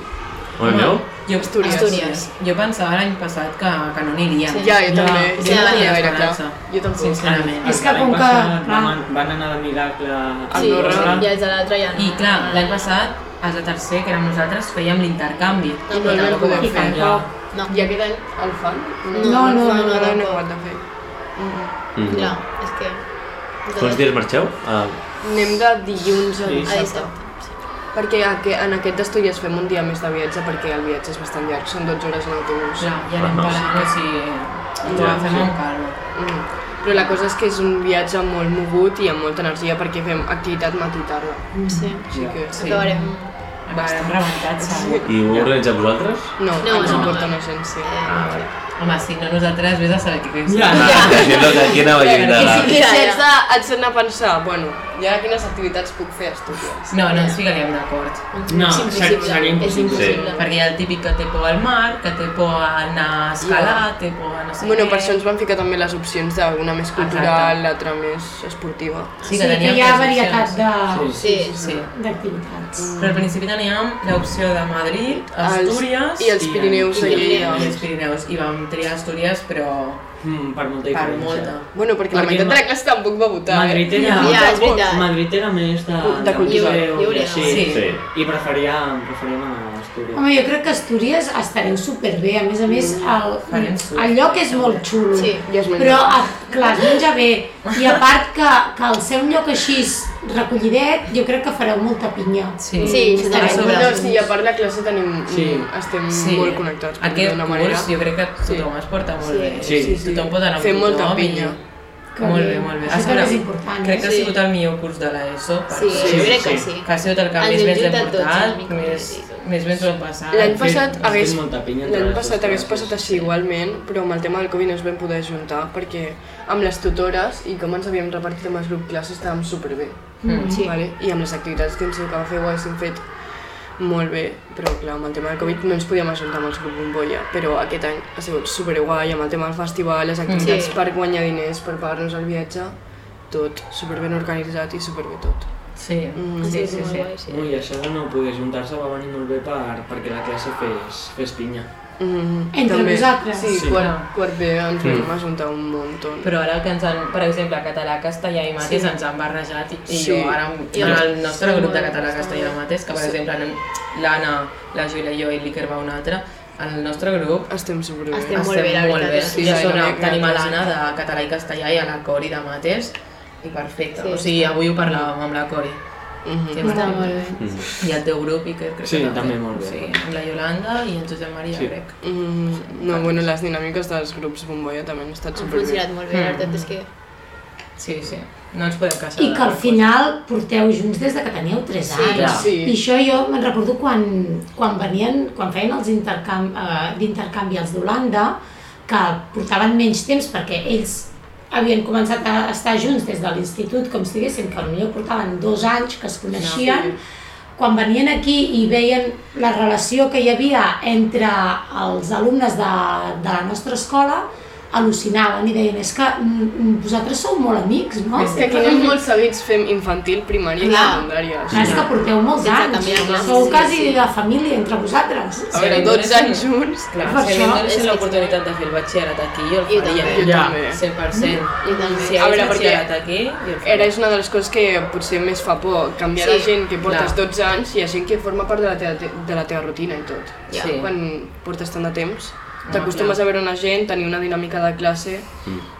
Speaker 1: On aneu?
Speaker 6: Jo,
Speaker 4: Astúries.
Speaker 5: Astúries.
Speaker 6: Jo pensava l'any passat que, que no aniria.
Speaker 5: Sí.
Speaker 4: Ja, jo també.
Speaker 5: no
Speaker 4: Jo no
Speaker 6: Jo
Speaker 5: tenia
Speaker 4: tenia gaire clar.
Speaker 6: esperança.
Speaker 4: Jo tampoc.
Speaker 6: Sincerament.
Speaker 2: És que
Speaker 3: L'any
Speaker 2: com que-
Speaker 3: passat
Speaker 2: clar.
Speaker 3: Van, van anar de miracle a
Speaker 4: Sí,
Speaker 3: Andorra.
Speaker 5: I els de l'altre ja no.
Speaker 6: I clar, l'any passat, els de tercer, que érem nosaltres, fèiem l'intercanvi.
Speaker 4: I no el vam
Speaker 6: Tampoc ho
Speaker 4: poder
Speaker 6: vam
Speaker 2: I
Speaker 6: fer.
Speaker 2: tampoc.
Speaker 5: No,
Speaker 4: I aquest any el fan?
Speaker 5: No,
Speaker 2: no,
Speaker 4: no,
Speaker 5: no,
Speaker 4: no,
Speaker 5: no.
Speaker 4: no, ho han de fer.
Speaker 1: Mm.
Speaker 5: clar, és que...
Speaker 1: Quants dies marxeu? Ah,
Speaker 4: Anem de dilluns a
Speaker 3: Sí.
Speaker 5: A
Speaker 4: dissabte.
Speaker 5: dissabte.
Speaker 4: Perquè aqu- en aquest d'estudis fem un dia més de viatge perquè el viatge és bastant llarg, són 12 hores en autobús.
Speaker 6: Clar, ja anem parlant, o sigui, ens ho vam fer amb calma.
Speaker 4: Mm. Però la cosa és que és un viatge molt mogut i amb molta energia perquè fem activitat matí i tarda.
Speaker 5: Sí,
Speaker 4: Així
Speaker 3: Ja.
Speaker 4: que...
Speaker 6: Sí.
Speaker 5: acabarem.
Speaker 6: Acabarem rebentats, segur.
Speaker 1: I ho organitzeu vosaltres?
Speaker 4: No,
Speaker 5: No,
Speaker 4: ens
Speaker 5: no,
Speaker 4: no,
Speaker 5: no.
Speaker 4: porta una agència.
Speaker 1: Ah, vale.
Speaker 6: Home, si no nosaltres, vés a saber què fes.
Speaker 3: Ja.
Speaker 1: Ah, que si no, que aquí anava a llibre.
Speaker 5: Perquè sí.
Speaker 4: I
Speaker 5: Mira,
Speaker 4: si
Speaker 5: ja.
Speaker 4: ets de, ets de pensar, bueno, i ara quines activitats puc fer a Astúries?
Speaker 6: No, no ens ficaríem d'acord.
Speaker 3: No,
Speaker 5: és impossible.
Speaker 3: seria impossible.
Speaker 5: És impossible.
Speaker 6: Perquè hi ha el típic que té por al mar, que té por a anar a escalar, té por a no sé
Speaker 4: Bueno,
Speaker 6: què...
Speaker 4: per això ens van ficar també les opcions d'una més cultural,
Speaker 6: Exacte.
Speaker 4: l'altra més esportiva.
Speaker 6: Sí,
Speaker 2: Sí, que hi ha
Speaker 6: teníem tres
Speaker 2: varietat
Speaker 6: opcions.
Speaker 2: de-
Speaker 3: Sí.
Speaker 5: Sí,
Speaker 6: Sí,
Speaker 2: d'activitats.
Speaker 6: però al principi teníem l'opció de Madrid,
Speaker 4: Els-
Speaker 6: Astúries...
Speaker 4: I els Pirineus
Speaker 5: i
Speaker 4: seguia.
Speaker 5: Pirineus.
Speaker 6: I els Pirineus, i vam triar Astúries, però
Speaker 3: Mm, per molta
Speaker 6: per
Speaker 3: diferència.
Speaker 6: molta.
Speaker 4: Bueno, perquè la
Speaker 3: Perquè
Speaker 4: meitat
Speaker 3: Ma-
Speaker 4: de la classe tampoc va votar, eh?
Speaker 3: Madrid era,
Speaker 6: Ja,
Speaker 5: ja, és veritat.
Speaker 3: Madrid era més de,
Speaker 4: De cultura.
Speaker 3: museus i
Speaker 5: Lliure.
Speaker 3: així.
Speaker 6: Sí.
Speaker 1: Sí.
Speaker 3: I preferíem, preferíem anar a Astúries.
Speaker 2: Home, jo crec que Astúries estareu superbé, a més a més el,
Speaker 6: Mm, Farem surf.
Speaker 2: el lloc és molt xulo,
Speaker 5: Sí,
Speaker 4: i es menja.
Speaker 2: però a, clar, es menja bé, i a part que, que el seu lloc així recollidet, jo crec que fareu molta pinya.
Speaker 6: Sí,
Speaker 5: Sí, això
Speaker 4: eh?
Speaker 5: també.
Speaker 6: a sobre.
Speaker 4: No, sí, a part la classe tenim,
Speaker 3: Sí.
Speaker 4: estem
Speaker 6: Sí.
Speaker 4: molt connectats, per
Speaker 6: Aquest
Speaker 4: d'una manera.
Speaker 6: curs jo crec que tothom es porta molt
Speaker 5: Sí.
Speaker 6: bé.
Speaker 3: Sí. Sí,
Speaker 4: sí.
Speaker 6: Tothom pot anar amb
Speaker 4: Fem molta
Speaker 6: tothom i-
Speaker 4: pinya.
Speaker 2: Que
Speaker 6: Molt
Speaker 2: bé.
Speaker 6: bé, molt bé.
Speaker 2: Això
Speaker 6: A sobre,
Speaker 2: també és important,
Speaker 6: Crec
Speaker 2: eh?
Speaker 6: que ha
Speaker 5: Sí.
Speaker 6: sigut el millor curs de l'ESO. per
Speaker 5: Sí,
Speaker 6: ser-
Speaker 5: jo crec que
Speaker 3: sí.
Speaker 5: sí.
Speaker 6: Que ha sigut el que
Speaker 5: Ens
Speaker 6: més
Speaker 5: hem
Speaker 6: ben hem
Speaker 5: juntat tots
Speaker 6: portat,
Speaker 5: una mica,
Speaker 6: més,
Speaker 5: sí.
Speaker 6: més ben ho hem passat.
Speaker 4: L'any
Speaker 6: Sí.
Speaker 4: passat
Speaker 3: Hem fet
Speaker 4: hagués-
Speaker 3: molta pinya entre
Speaker 4: L'any
Speaker 3: les
Speaker 4: passat
Speaker 3: dues
Speaker 4: hagués
Speaker 3: classes.
Speaker 4: passat així igualment, però amb el tema del Covid no ens vam poder juntar perquè amb les tutores i com ens havíem repartit amb els grup classes estàvem superbé.
Speaker 6: Mm.
Speaker 5: Sí.
Speaker 4: Vale? I amb les activitats que ens tocava fer ho haguéssim fet molt bé, però clar, amb el tema del Covid no ens podíem ajuntar amb els grup Bombolla, però aquest any ha sigut superguai, amb el tema del festival, les activitats
Speaker 5: Sí.
Speaker 4: per guanyar diners, per pagar-nos el viatge, tot superben organitzat i superbé tot.
Speaker 6: Sí,
Speaker 4: Mm.
Speaker 6: sí, sí, sí.
Speaker 3: Ui, això de no poder juntar-se va venir molt bé per, perquè la classe fes, fes pinya.
Speaker 4: Mm,
Speaker 2: Entre vosaltres?
Speaker 4: Sí,
Speaker 3: Sí.
Speaker 4: Quart, quart B ens vam ajuntar un munt.
Speaker 6: Però ara que ens han, per exemple, català, castellà i mates ens han barrejat i, i
Speaker 4: Sí.
Speaker 6: jo ara amb-
Speaker 5: I
Speaker 6: en
Speaker 5: amb-
Speaker 6: el nostre
Speaker 5: sí,
Speaker 6: grup de
Speaker 5: molt
Speaker 6: català, castellà i mates, que per exemple anem l'Anna, la Júlia, jo i l'Iker va un altre, el nostre grup
Speaker 4: Estem superbé.
Speaker 5: Estem molt bé, la veritat és
Speaker 4: que
Speaker 6: I a
Speaker 4: sí.
Speaker 6: sobre
Speaker 4: Sí,
Speaker 6: tenim a
Speaker 4: sí.
Speaker 6: l'Anna de català i castellà i a la Cori de mates, i perfecte.
Speaker 5: Sí.
Speaker 6: O sigui, avui ho parlàvem amb la Cori.
Speaker 4: Mhm.
Speaker 6: Que
Speaker 2: Està
Speaker 6: estem-
Speaker 2: molt bé.
Speaker 6: I el teu grup, i que crec
Speaker 3: Sí,
Speaker 6: que
Speaker 3: també molt bé.
Speaker 6: Sí, amb la Yolanda i el Josep Maria,
Speaker 3: Sí.
Speaker 6: crec.
Speaker 4: Mm, no, bueno, les dinàmiques dels grups bombolla també han estat
Speaker 5: Han
Speaker 4: superbé.
Speaker 5: funcionat molt bé, la
Speaker 6: Hmm.
Speaker 5: veritat és que...
Speaker 6: Sí, sí. No ens podem casar.
Speaker 2: I que al final porteu junts des de que teníeu 3
Speaker 5: Sí,
Speaker 2: anys.
Speaker 6: clar.
Speaker 4: Sí.
Speaker 2: I això jo me'n recordo quan, quan venien, quan feien els intercam, eh, d'intercanvi als d'Holanda, que portaven menys temps perquè ells havien començat a estar junts des de l'institut, com si diguéssim que potser portaven dos anys que es coneixien, quan venien aquí i veien la relació que hi havia entre els alumnes de, de la nostra escola, al·lucinaven i deien és que mm, mm, vosaltres sou molt amics, no?
Speaker 4: És que aquí anem molt sabits, fem infantil, primària i
Speaker 5: Clar.
Speaker 4: secundària.
Speaker 2: Clar, és que porteu molts
Speaker 5: Sense
Speaker 2: anys,
Speaker 5: canviar res,
Speaker 2: sou
Speaker 5: sí,
Speaker 2: quasi
Speaker 5: sí.
Speaker 2: de família entre vosaltres.
Speaker 4: A veure,
Speaker 6: Sí,
Speaker 4: 12
Speaker 6: sí.
Speaker 4: anys junts.
Speaker 6: Clar,
Speaker 2: Per
Speaker 6: si
Speaker 2: això-
Speaker 6: em
Speaker 5: és
Speaker 6: donessin
Speaker 5: que-
Speaker 6: l'oportunitat de fer el batxillerat aquí, jo el
Speaker 5: Jo
Speaker 6: faria.
Speaker 5: també.
Speaker 4: Jo
Speaker 3: Ja.
Speaker 4: també.
Speaker 6: 100%.
Speaker 5: I també.
Speaker 6: Si hi
Speaker 4: A
Speaker 6: hagués
Speaker 4: veure, perquè
Speaker 6: batxillerat aquí, jo el faria.
Speaker 4: Era és una de les coses que potser més fa por, canviar la
Speaker 5: Sí,
Speaker 4: gent que portes
Speaker 6: clar.
Speaker 4: 12 anys i la gent que forma part de la teva, de la teva rutina i tot.
Speaker 6: Ja. Sí.
Speaker 4: Quan portes tant de temps,
Speaker 6: No,
Speaker 4: t'acostumes
Speaker 6: clar.
Speaker 4: a veure una gent, tenir una dinàmica de classe,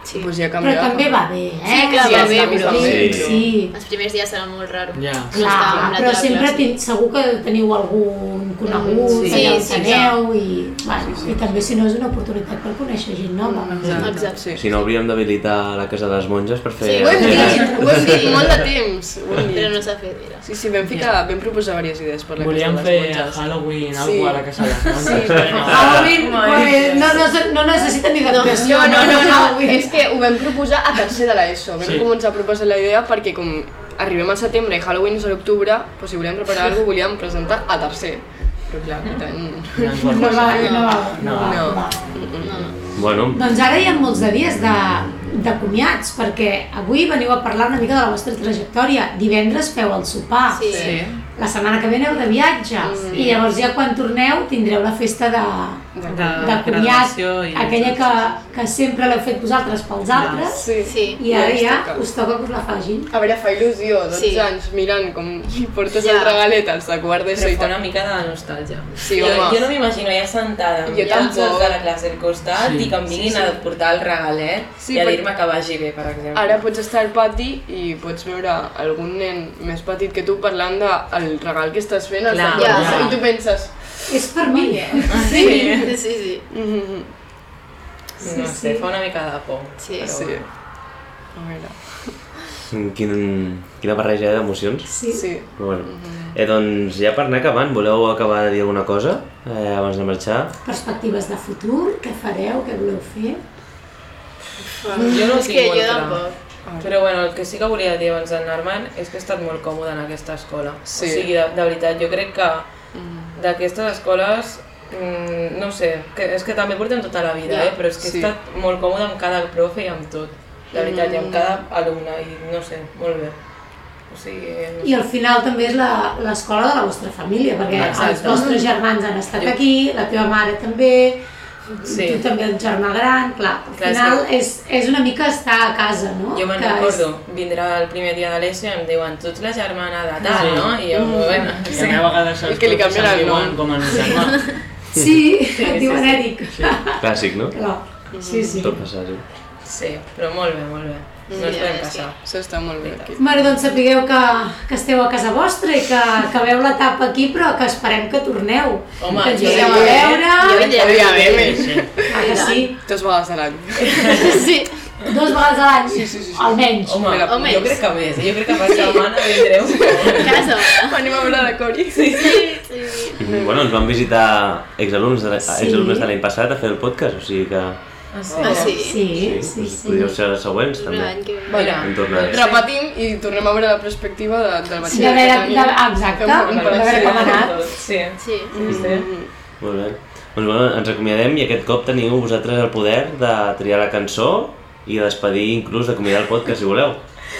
Speaker 5: Sí.
Speaker 4: doncs ja
Speaker 2: Però
Speaker 4: canvia.
Speaker 2: també va bé, eh?
Speaker 5: Sí, clar, va
Speaker 4: sí,
Speaker 5: bé,
Speaker 4: sí,
Speaker 5: però...
Speaker 4: sí.
Speaker 2: Sí,
Speaker 1: Sí.
Speaker 2: sí.
Speaker 5: Els primers dies seran molt raros.
Speaker 3: Ja.
Speaker 5: Està
Speaker 2: Clar,
Speaker 5: amb
Speaker 2: però
Speaker 5: la teva
Speaker 2: sempre
Speaker 5: classe.
Speaker 2: ten, segur que teniu algun conegut,
Speaker 4: Mm, sí.
Speaker 2: sí, que ja el
Speaker 5: Sí, sí,
Speaker 2: sabeu i, bueno, i també si no és una oportunitat per conèixer gent nova.
Speaker 5: Mm.
Speaker 6: Exacte.
Speaker 5: Exacte.
Speaker 4: Sí.
Speaker 1: Si no, hauríem d'habilitar la Casa de les Monges per fer...
Speaker 5: Sí,
Speaker 4: Ho hem dit, ho hem dit
Speaker 5: Sí.
Speaker 4: molt de temps. Ho hem dit.
Speaker 5: Però no s'ha fet, mira.
Speaker 4: Sí, sí, vam, ficar, vam proposar diverses idees per la
Speaker 3: Volíem
Speaker 4: Casa de
Speaker 3: fer
Speaker 4: les
Speaker 3: a
Speaker 4: Monges.
Speaker 3: Halloween
Speaker 4: Sí.
Speaker 3: alguna cosa a la Casa de les Monges. però
Speaker 6: Ah,
Speaker 3: no.
Speaker 2: Halloween, pues, no, no, no necessita ni d'actuació.
Speaker 4: No, no, no, no,
Speaker 2: Halloween.
Speaker 4: és que ho vam proposar a tercer de l'ESO. Vam
Speaker 3: Sí.
Speaker 4: començar a proposar la idea perquè com arribem al setembre i Halloween és a l'octubre, doncs si volíem preparar alguna cosa, volíem presentar a tercer. Però clar, i tant...
Speaker 3: No ens vol
Speaker 2: No va,
Speaker 3: passar.
Speaker 2: no va, no va.
Speaker 3: No.
Speaker 2: No va.
Speaker 4: No.
Speaker 1: Bueno,
Speaker 2: Doncs ara hi ha molts de dies de, de de comiats, perquè avui veniu a parlar una mica de la vostra trajectòria. Divendres feu el sopar.
Speaker 5: Sí.
Speaker 4: Sí.
Speaker 2: La setmana que ve aneu de viatge.
Speaker 6: Mm.
Speaker 2: I llavors ja quan torneu tindreu la festa de,
Speaker 4: De-
Speaker 2: de comiat,
Speaker 6: graduació i-
Speaker 2: aquella que, que sempre l'heu fet vosaltres pels altres.
Speaker 4: Sí.
Speaker 5: Sí.
Speaker 2: I ara
Speaker 4: Ja
Speaker 2: ja
Speaker 4: us toca.
Speaker 2: us toca que us la fagin.
Speaker 4: A veure, fa il·lusió, 12
Speaker 5: Sí.
Speaker 4: anys mirant com portes
Speaker 5: Ja.
Speaker 4: el regalet als de quart d'ESO
Speaker 6: Però
Speaker 4: i
Speaker 6: fa
Speaker 4: tal.
Speaker 6: una mica de nostàlgia.
Speaker 4: Sí,
Speaker 6: jo,
Speaker 4: home.
Speaker 6: jo no m'imagino ja sentada amb
Speaker 4: Jo
Speaker 6: tots els
Speaker 4: tampoc.
Speaker 6: de la classe al costat
Speaker 3: Sí.
Speaker 6: i que em vinguin a portar el regalet
Speaker 4: Sí,
Speaker 6: i a
Speaker 4: perquè-
Speaker 6: dir-me que vagi bé, per exemple.
Speaker 4: Ara pots estar al pati i pots veure algun nen més petit que tu parlant del regal que estàs fent als de
Speaker 6: Clar.
Speaker 4: quart
Speaker 5: Ja.
Speaker 4: d'ESO i tu penses...
Speaker 2: És per mi.
Speaker 5: Sí. Sí, sí, sí.
Speaker 4: Mm -hmm.
Speaker 6: no sé, fa una mica de por.
Speaker 5: Sí.
Speaker 6: però
Speaker 4: Sí.
Speaker 6: bueno.
Speaker 4: A veure,
Speaker 1: Quin, quina barreja d'emocions.
Speaker 2: Sí. sí.
Speaker 4: sí.
Speaker 1: Però Bueno.
Speaker 2: Mm-hmm.
Speaker 1: Eh, doncs ja per anar acabant, voleu acabar de dir alguna cosa eh, abans de marxar?
Speaker 2: Perspectives de futur, què fareu, què voleu fer?
Speaker 6: Jo no ho
Speaker 5: és que
Speaker 6: tinc molt
Speaker 5: jo
Speaker 6: clar.
Speaker 5: tampoc.
Speaker 6: Però bueno, el que sí que volia dir abans d'anar-me'n és que he estat molt còmode en aquesta escola.
Speaker 4: Sí.
Speaker 6: O sigui, de, de veritat, jo crec que
Speaker 4: mm-hmm,
Speaker 6: d'aquestes escoles, mm, no ho sé, que, és que també portem tota la vida,
Speaker 4: Ja,
Speaker 6: eh? però és que
Speaker 4: sí.
Speaker 6: he estat molt còmode amb cada profe i amb tot. De veritat, i amb cada alumne, i no sé, molt bé. O sigui, no
Speaker 2: I al final també és la- l'escola de la vostra família, perquè Exacte. els vostres germans han estat aquí, la teva mare també,
Speaker 6: Sí.
Speaker 2: tu també el germà gran, clar, al
Speaker 6: Clar, és
Speaker 2: final és, és una mica estar a casa, no?
Speaker 6: Jo me'n
Speaker 2: Que és-
Speaker 6: recordo, vindrà el primer dia de l'ESO i em diuen tu ets la germana de tal,
Speaker 3: Sí.
Speaker 6: no? I jo, bueno,
Speaker 3: I a mi a vegades els
Speaker 4: És que li
Speaker 3: profes
Speaker 4: canvien
Speaker 3: em
Speaker 4: el
Speaker 3: diuen
Speaker 4: nom.
Speaker 3: com el germà.
Speaker 2: Sí, et diuen Eric.
Speaker 1: Clàssic, no?
Speaker 2: Clar, sí, sí.
Speaker 1: Tot passa, sí.
Speaker 6: sí, però molt bé, molt bé. No ens
Speaker 5: Ja,
Speaker 6: podem
Speaker 5: sí.
Speaker 6: casar.
Speaker 4: Això està molt bé aquí.
Speaker 2: Mare, doncs sapigueu que, que esteu a casa vostra i que, que veu l'etapa aquí, però que esperem que torneu.
Speaker 6: Home,
Speaker 2: que ens
Speaker 6: jo
Speaker 2: vingueu a
Speaker 6: també,
Speaker 2: veure,
Speaker 5: Jo
Speaker 4: Podria haver
Speaker 3: Sí,
Speaker 4: més.
Speaker 3: sí.
Speaker 2: clar que sí.
Speaker 4: Dos vegades a l'any.
Speaker 5: Sí.
Speaker 2: Dos vegades a l'any,
Speaker 4: Sí, sí, sí, sí.
Speaker 2: almenys.
Speaker 6: Home,
Speaker 4: Home,
Speaker 6: Home, jo
Speaker 5: és-
Speaker 6: crec que més, eh? jo crec que per setmana vindreu.
Speaker 5: Casa.
Speaker 4: Anem a veure la Cori. Sí, sí.
Speaker 1: Mm, Bueno, ens van visitar exalumnes de l'any
Speaker 2: Sí.
Speaker 1: exalumnes de l'any passat a fer el podcast, o sigui que
Speaker 5: Ah, sí.
Speaker 2: Sí, sí,
Speaker 1: us
Speaker 2: sí.
Speaker 1: podríeu ser els següents,
Speaker 5: L'any
Speaker 1: també.
Speaker 5: que ve.
Speaker 6: Mira,
Speaker 1: En tornar.
Speaker 4: Repetim i tornem a veure la perspectiva de, del
Speaker 2: Sí, a veure, de, exacte,
Speaker 4: Fem
Speaker 2: a
Speaker 4: un Mm-hmm.
Speaker 2: veure com ha anat.
Speaker 6: Sí.
Speaker 5: Sí.
Speaker 1: Molt bé. Doncs bueno, ens acomiadem i aquest cop teniu vosaltres el poder de triar la cançó i de despedir inclús d'acomiadar el podcast, si voleu.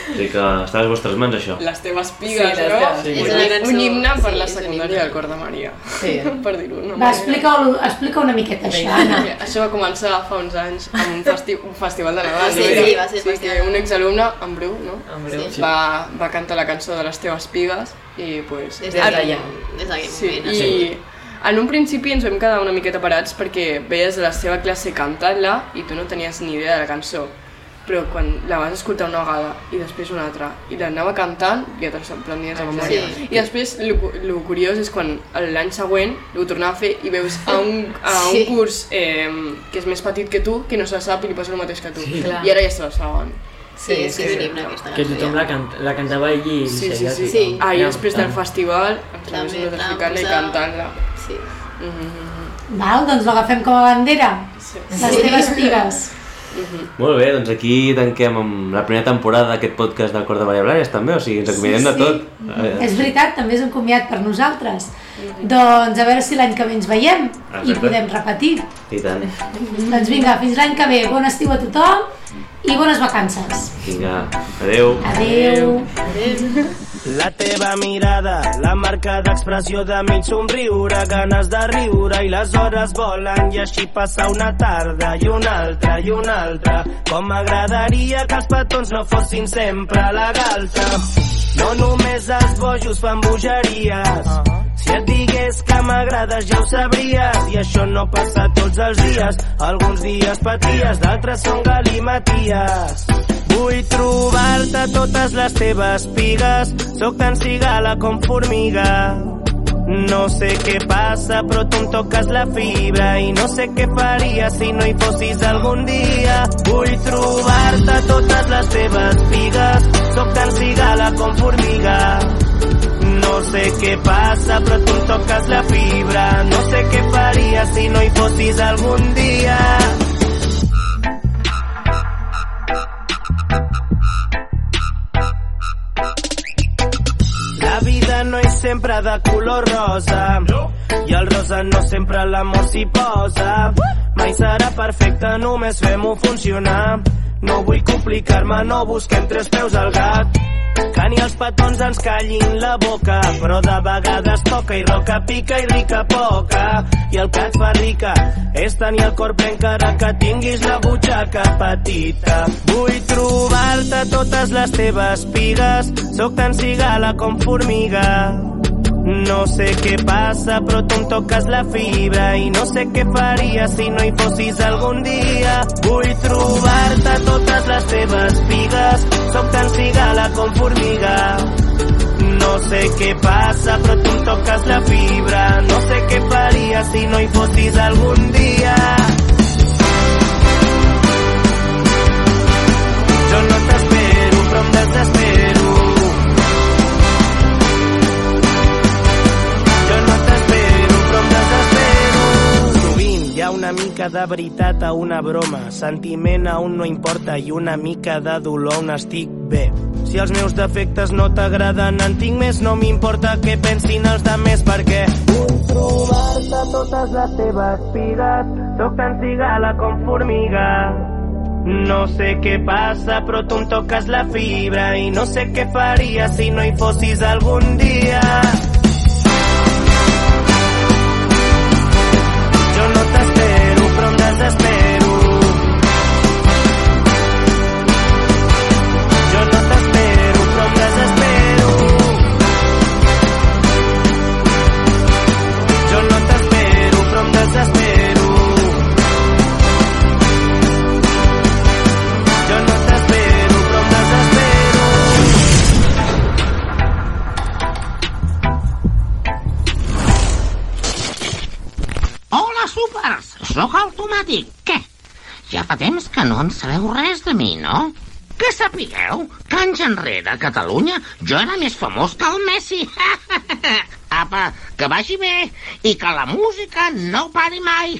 Speaker 1: O sigui que està a les vostres mans, això.
Speaker 4: les teves pigues,
Speaker 6: Sí, les
Speaker 4: no?
Speaker 6: teves
Speaker 5: És una cançó-
Speaker 4: Un himne per la
Speaker 5: sí, és un
Speaker 4: secundària del Cor de Maria.
Speaker 6: Sí.
Speaker 4: Per dir-ho. d'una
Speaker 2: Va,
Speaker 4: manera.
Speaker 2: explica, explica una miqueta això, Anna.
Speaker 4: Bé, Això va començar fa uns anys amb un, festi un festival de Nadal.
Speaker 5: Sí,
Speaker 4: no
Speaker 5: sí,
Speaker 4: era?
Speaker 5: va ser festival.
Speaker 4: que un exalumne, en Bru, no?
Speaker 6: En breu.
Speaker 5: Sí.
Speaker 4: Va, va cantar la cançó de les teves pigues i pues,
Speaker 5: Des
Speaker 6: Ara
Speaker 5: d'aquell
Speaker 6: ja.
Speaker 5: des d'aquell
Speaker 4: Sí,
Speaker 5: moment.
Speaker 4: i en un principi ens vam quedar una miqueta parats perquè veies la seva classe cantant-la i tu no tenies ni idea de la cançó. Però quan la vas escoltar una vegada i després una altra i l'anava cantant, ja te l'emprenies a memòria.
Speaker 5: Sí.
Speaker 4: I després el, el curiós és quan l'any següent ho tornava a fer i veus a un, a un
Speaker 5: Sí.
Speaker 4: curs eh, que és més petit que tu, que no se la sap i li passa el mateix que tu.
Speaker 3: Sí.
Speaker 4: I ara ja se la saben.
Speaker 5: Sí, és que és un
Speaker 4: sí.
Speaker 5: himne aquesta
Speaker 3: Que
Speaker 5: cançó,
Speaker 3: tothom
Speaker 5: ja.
Speaker 3: la, can la cantava allí i
Speaker 4: Sí, sí,
Speaker 3: seguia
Speaker 4: sí.
Speaker 5: Sí.
Speaker 4: Ah, i
Speaker 3: Ja,
Speaker 4: després del
Speaker 3: tant.
Speaker 4: festival, ens
Speaker 5: També
Speaker 4: la vam nosaltres
Speaker 5: la
Speaker 4: ficant-la i
Speaker 5: posava.
Speaker 4: cantant-la. Mhm.
Speaker 5: Sí.
Speaker 2: Val, doncs l'agafem com a bandera. Sí. Les teves pigues.
Speaker 1: Molt bé, doncs aquí tanquem amb la primera temporada d'aquest podcast del Cor de Maria Blanes, també, o sigui, ens acomiadem
Speaker 2: Sí,
Speaker 1: de tot. Eh,
Speaker 2: És veritat, també és un comiat per nosaltres. Doncs a veure si l'any que ve ens veiem i
Speaker 1: Exacte.
Speaker 2: podem repetir.
Speaker 1: I tant.
Speaker 2: Doncs vinga, fins l'any que ve. Bon estiu a tothom i bones vacances.
Speaker 1: Vinga, adeu.
Speaker 2: Adeu.
Speaker 7: La teva mirada, la marca d'expressió de mig somriure, ganes de riure i les hores volen i així passa una tarda i una altra i una altra. Com m'agradaria que els petons no fossin sempre a la galta. No només els bojos fan bogeries, si et digués que m'agrades ja ho sabries I això no passa tots els dies Alguns dies paties, d'altres són galimaties Vull trobar-te totes les teves pigues Sóc tan cigala com formiga no sé què passa, però tu em toques la fibra i no sé què faria si no hi fossis algun dia. Vull trobar-te totes les teves pigues, sóc tan cigala com formiga. No sé què passa, però tu em toques la fibra. No sé què faria si no hi fossis algun dia. La vida no és sempre de color rosa. I el rosa no sempre l'amor s'hi posa. Mai serà perfecte, només fem-ho funcionar. No vull complicar-me, no busquem tres peus al gat. Que ni els petons ens callin la boca, però de vegades toca i roca, pica i rica poca. I el que et fa rica és tenir el cor ple encara que tinguis la butxaca petita. Vull trobar-te totes les teves pigues, sóc tan cigala com formiga. No sé què passa, però tu em toques la fibra i no sé què faria si no hi fossis algun dia. Vull trobar-te totes les teves pigues, sóc tan cigala com formiga. No sé què passa, però tu em toques la fibra, no sé què faria si no hi fossis algun dia. Jo no t'espero, però em desespero. Jo no t'espero, però em desespero. Sovint hi ha una mica de veritat a una broma, sentiment a un no importa i una mica de dolor on estic bé. Si els meus defectes no t'agraden, en tinc més, no m'importa què pensin els de més, perquè vull trobar-te totes les teves pigues, sóc tan cigala com formiga. No sé què passa, però tu em toques la fibra i no sé què faria si no hi fossis algun dia. Jo no t'espero, però em desespero. Jo no t'espero, però em desespero. Jo no t'espero, però em desespero. Yo no t'espero, però em desespero.
Speaker 8: Hola, súpers! Sóc automàtic. Què? Ja fa temps que no en sabeu res de mi, no? Que sapigueu que anys enrere a Catalunya jo era més famós que el Messi. Apa, que vagi bé i que la música no pari mai.